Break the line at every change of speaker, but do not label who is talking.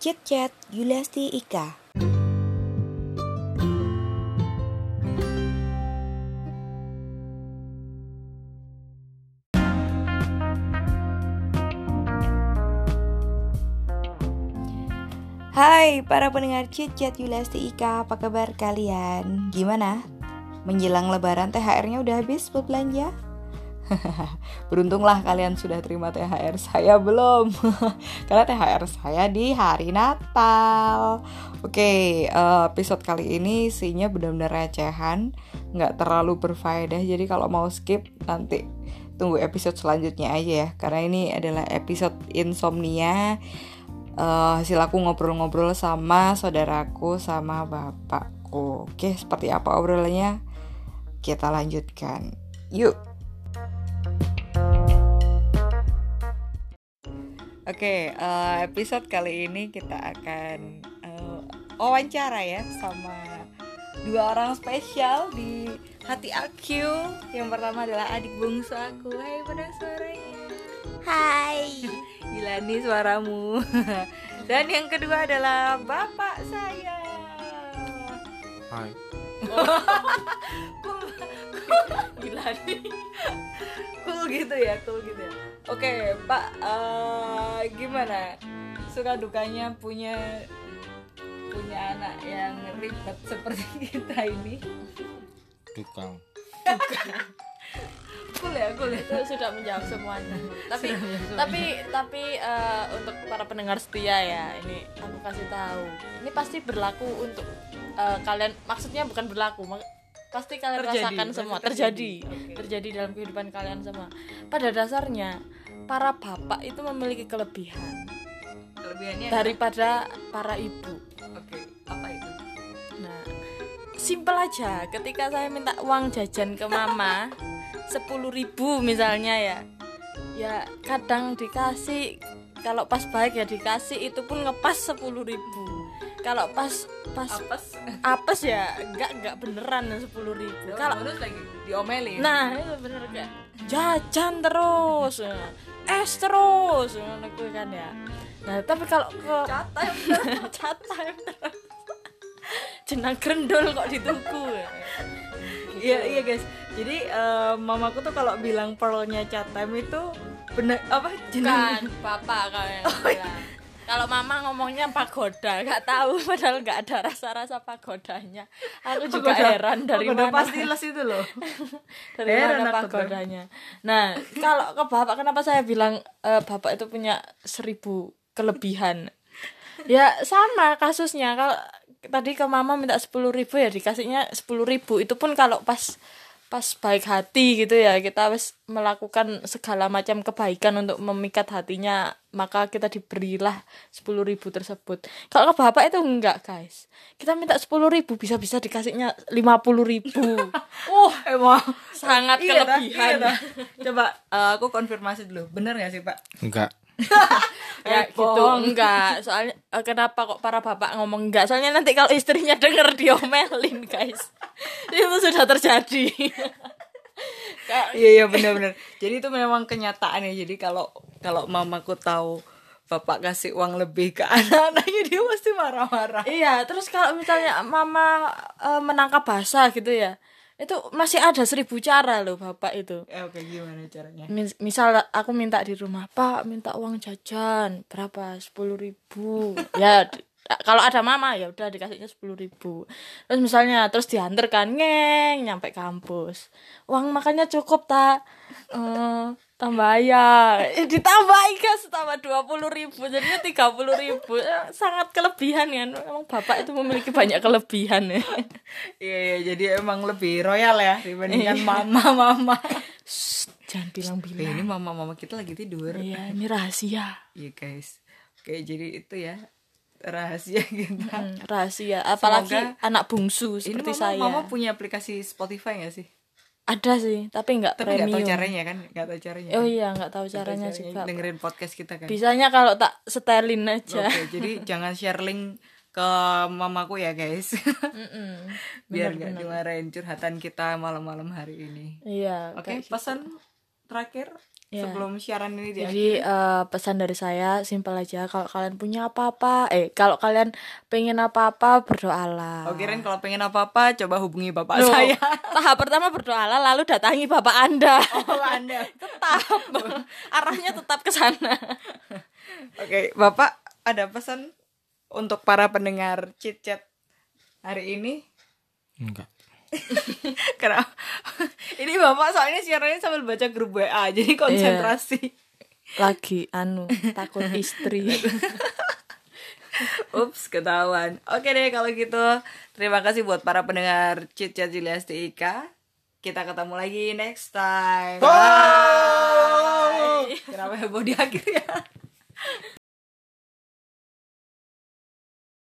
Chit Chat Yulasti Ika. Hai para pendengar Chit Chat Yulasti Ika, apa kabar kalian? Gimana? Menjelang lebaran THR-nya udah habis buat belanja? Beruntunglah kalian sudah terima THR saya belum Karena THR saya di hari Natal Oke eh, episode kali ini isinya benar-benar recehan Nggak terlalu berfaedah Jadi kalau mau skip nanti tunggu episode selanjutnya aja ya Karena ini adalah episode insomnia Eh, Hasil aku ngobrol-ngobrol sama saudaraku sama bapakku Oke seperti apa obrolannya kita lanjutkan Yuk Oke, eh, episode kali ini kita akan eh, wawancara ya sama dua orang spesial di hati aku. Yang pertama adalah adik bungsu aku. Hai, pada suaranya.
Hai,
Gila nih suaramu. Dan yang kedua adalah bapak saya.
Hai,
Cool. Gila nih. Cool gitu ya, cool gitu ya. Oke, Pak, eh, gimana? Suka dukanya punya punya anak yang ribet seperti kita ini.
tukang.
Cool ya, cool ya.
itu sudah menjawab semuanya. Tapi
Sudah menjawab
tapi tapi eh, untuk para pendengar setia ya, ini aku kasih tahu. Ini pasti berlaku untuk eh, kalian. Maksudnya bukan berlaku, mak- pasti kalian
Terjadi,
rasakan
pasti
semua
terjadi.
terjadi.
Oke.
Terjadi dalam kehidupan kalian semua. Pada dasarnya para bapak itu memiliki kelebihan
Kelebihannya ya?
daripada para ibu.
Oke, apa itu?
Nah, simpel aja. Ketika saya minta uang jajan ke mama, sepuluh ribu misalnya ya, ya kadang dikasih. Kalau pas baik ya dikasih, itu pun ngepas sepuluh ribu. Kalau pas pas
Apes.
apes ya nggak nggak beneran sepuluh ribu. Kalau
bonus lagi diomelin.
Nah, itu bener kayak jajan terus, ya. es terus, ngono kuwi kan ya. Nah, tapi kalau ke catem catem terus. Jenang grendul kok dituku. ya.
Iya iya guys. Jadi eh, mamaku tuh kalau bilang pearlnya cat time itu Oh, benar apa?
Bukan bapak kalau yang
iya.
bilang. Kalau mama ngomongnya pagoda, nggak tahu padahal nggak ada rasa-rasa pagodanya. Aku juga
Pagoda-
heran dari
pagoda
mana.
ya? pasti les itu loh.
dari
Heran
mana
aku tuh.
pagodanya. Nah, kalau ke bapak kenapa saya bilang eh, bapak itu punya seribu kelebihan? Ya sama kasusnya. Kalau tadi ke mama minta sepuluh ribu ya dikasihnya sepuluh ribu. Itu pun kalau pas pas baik hati gitu ya kita harus melakukan segala macam kebaikan untuk memikat hatinya maka kita diberilah sepuluh ribu tersebut kalau ke bapak itu enggak guys kita minta sepuluh ribu bisa-bisa dikasihnya lima puluh ribu
Oh, emang
sangat
Iya, Tah.
kelebihan
Iya, Tah. Coba eh, aku konfirmasi dulu. Bener gak sih, Pak?
Enggak.
Eh,
ya gitu
bohong.
enggak soalnya eh, kenapa kok para bapak ngomong enggak soalnya nanti kalau istrinya denger diomelin guys itu sudah terjadi Kayak-
Iya, iya benar-benar. Jadi itu memang kenyataan ya. Jadi kalau kalau mamaku tahu Bapak kasih uang lebih ke anak-anaknya dia pasti marah-marah.
iya terus kalau misalnya mama eh, menangkap basah gitu ya itu masih ada seribu cara loh bapak itu
Eh, oke gimana caranya?
Mis- misal aku minta di rumah pak minta uang jajan berapa sepuluh ribu ya di- kalau ada mama ya udah dikasihnya sepuluh ribu terus misalnya terus diantar kan ngeng nyampe kampus uang makannya cukup tak Eh, tambah ya Eh, ditambah guys tambah dua puluh ribu jadinya tiga puluh ribu Eh, sangat kelebihan kan emang bapak itu memiliki banyak kelebihan ya
Iya, iya, jadi emang lebih royal ya dibandingkan mama-mama.
Shh, jangan
Oke,
bilang-bilang
ini mama-mama kita lagi tidur.
iya ini rahasia
Iya guys. Oke, jadi itu ya rahasia kita.
Hmm, rahasia apalagi
Semoga-
anak bungsu
Ini
seperti
mama,
saya
mama punya aplikasi Spotify gak sih?
ada sih tapi
Tapi
nggak
nggak
premium
tahu caranya kan? Nggak tahu caranya.
oh
kan?
iya nggak tahu
Nggak tahu
caranya juga
Dengerin podcast kita kan.
bisanya kalau tak setelin
Oke,
aja
jadi jangan share link ke mamaku ya guys.
Mm-mm.
Biar nggak dimarahin curhatan kita malam-malam hari ini.
iya
Oke,
kayak-
pesan terakhir
Ya.
sebelum siaran ini dia
Jadi eh, pesan dari saya simpel aja kalau kalian punya apa-apa, eh kalau kalian pengen apa-apa berdoalah.
Oke Ren Oh, kalau pengen apa-apa coba hubungi bapak
Loh,
saya
Tahap pertama berdoalah lalu datangi bapak Anda.
Oh Anda
tetap arahnya tetap ke sana.
Oke Bapak ada pesan untuk para pendengar chit chat hari ini
Enggak.
Karena ini bapak soalnya siarannya sambil baca grup WA
Iya.
jadi konsentrasi.
Lagi anu takut istri.
Ups ketahuan. Oke deh kalau gitu terima kasih buat para pendengar Chit Chat Julius Ika. Kita ketemu lagi next time. Bye. Kenapa heboh di akhir ya?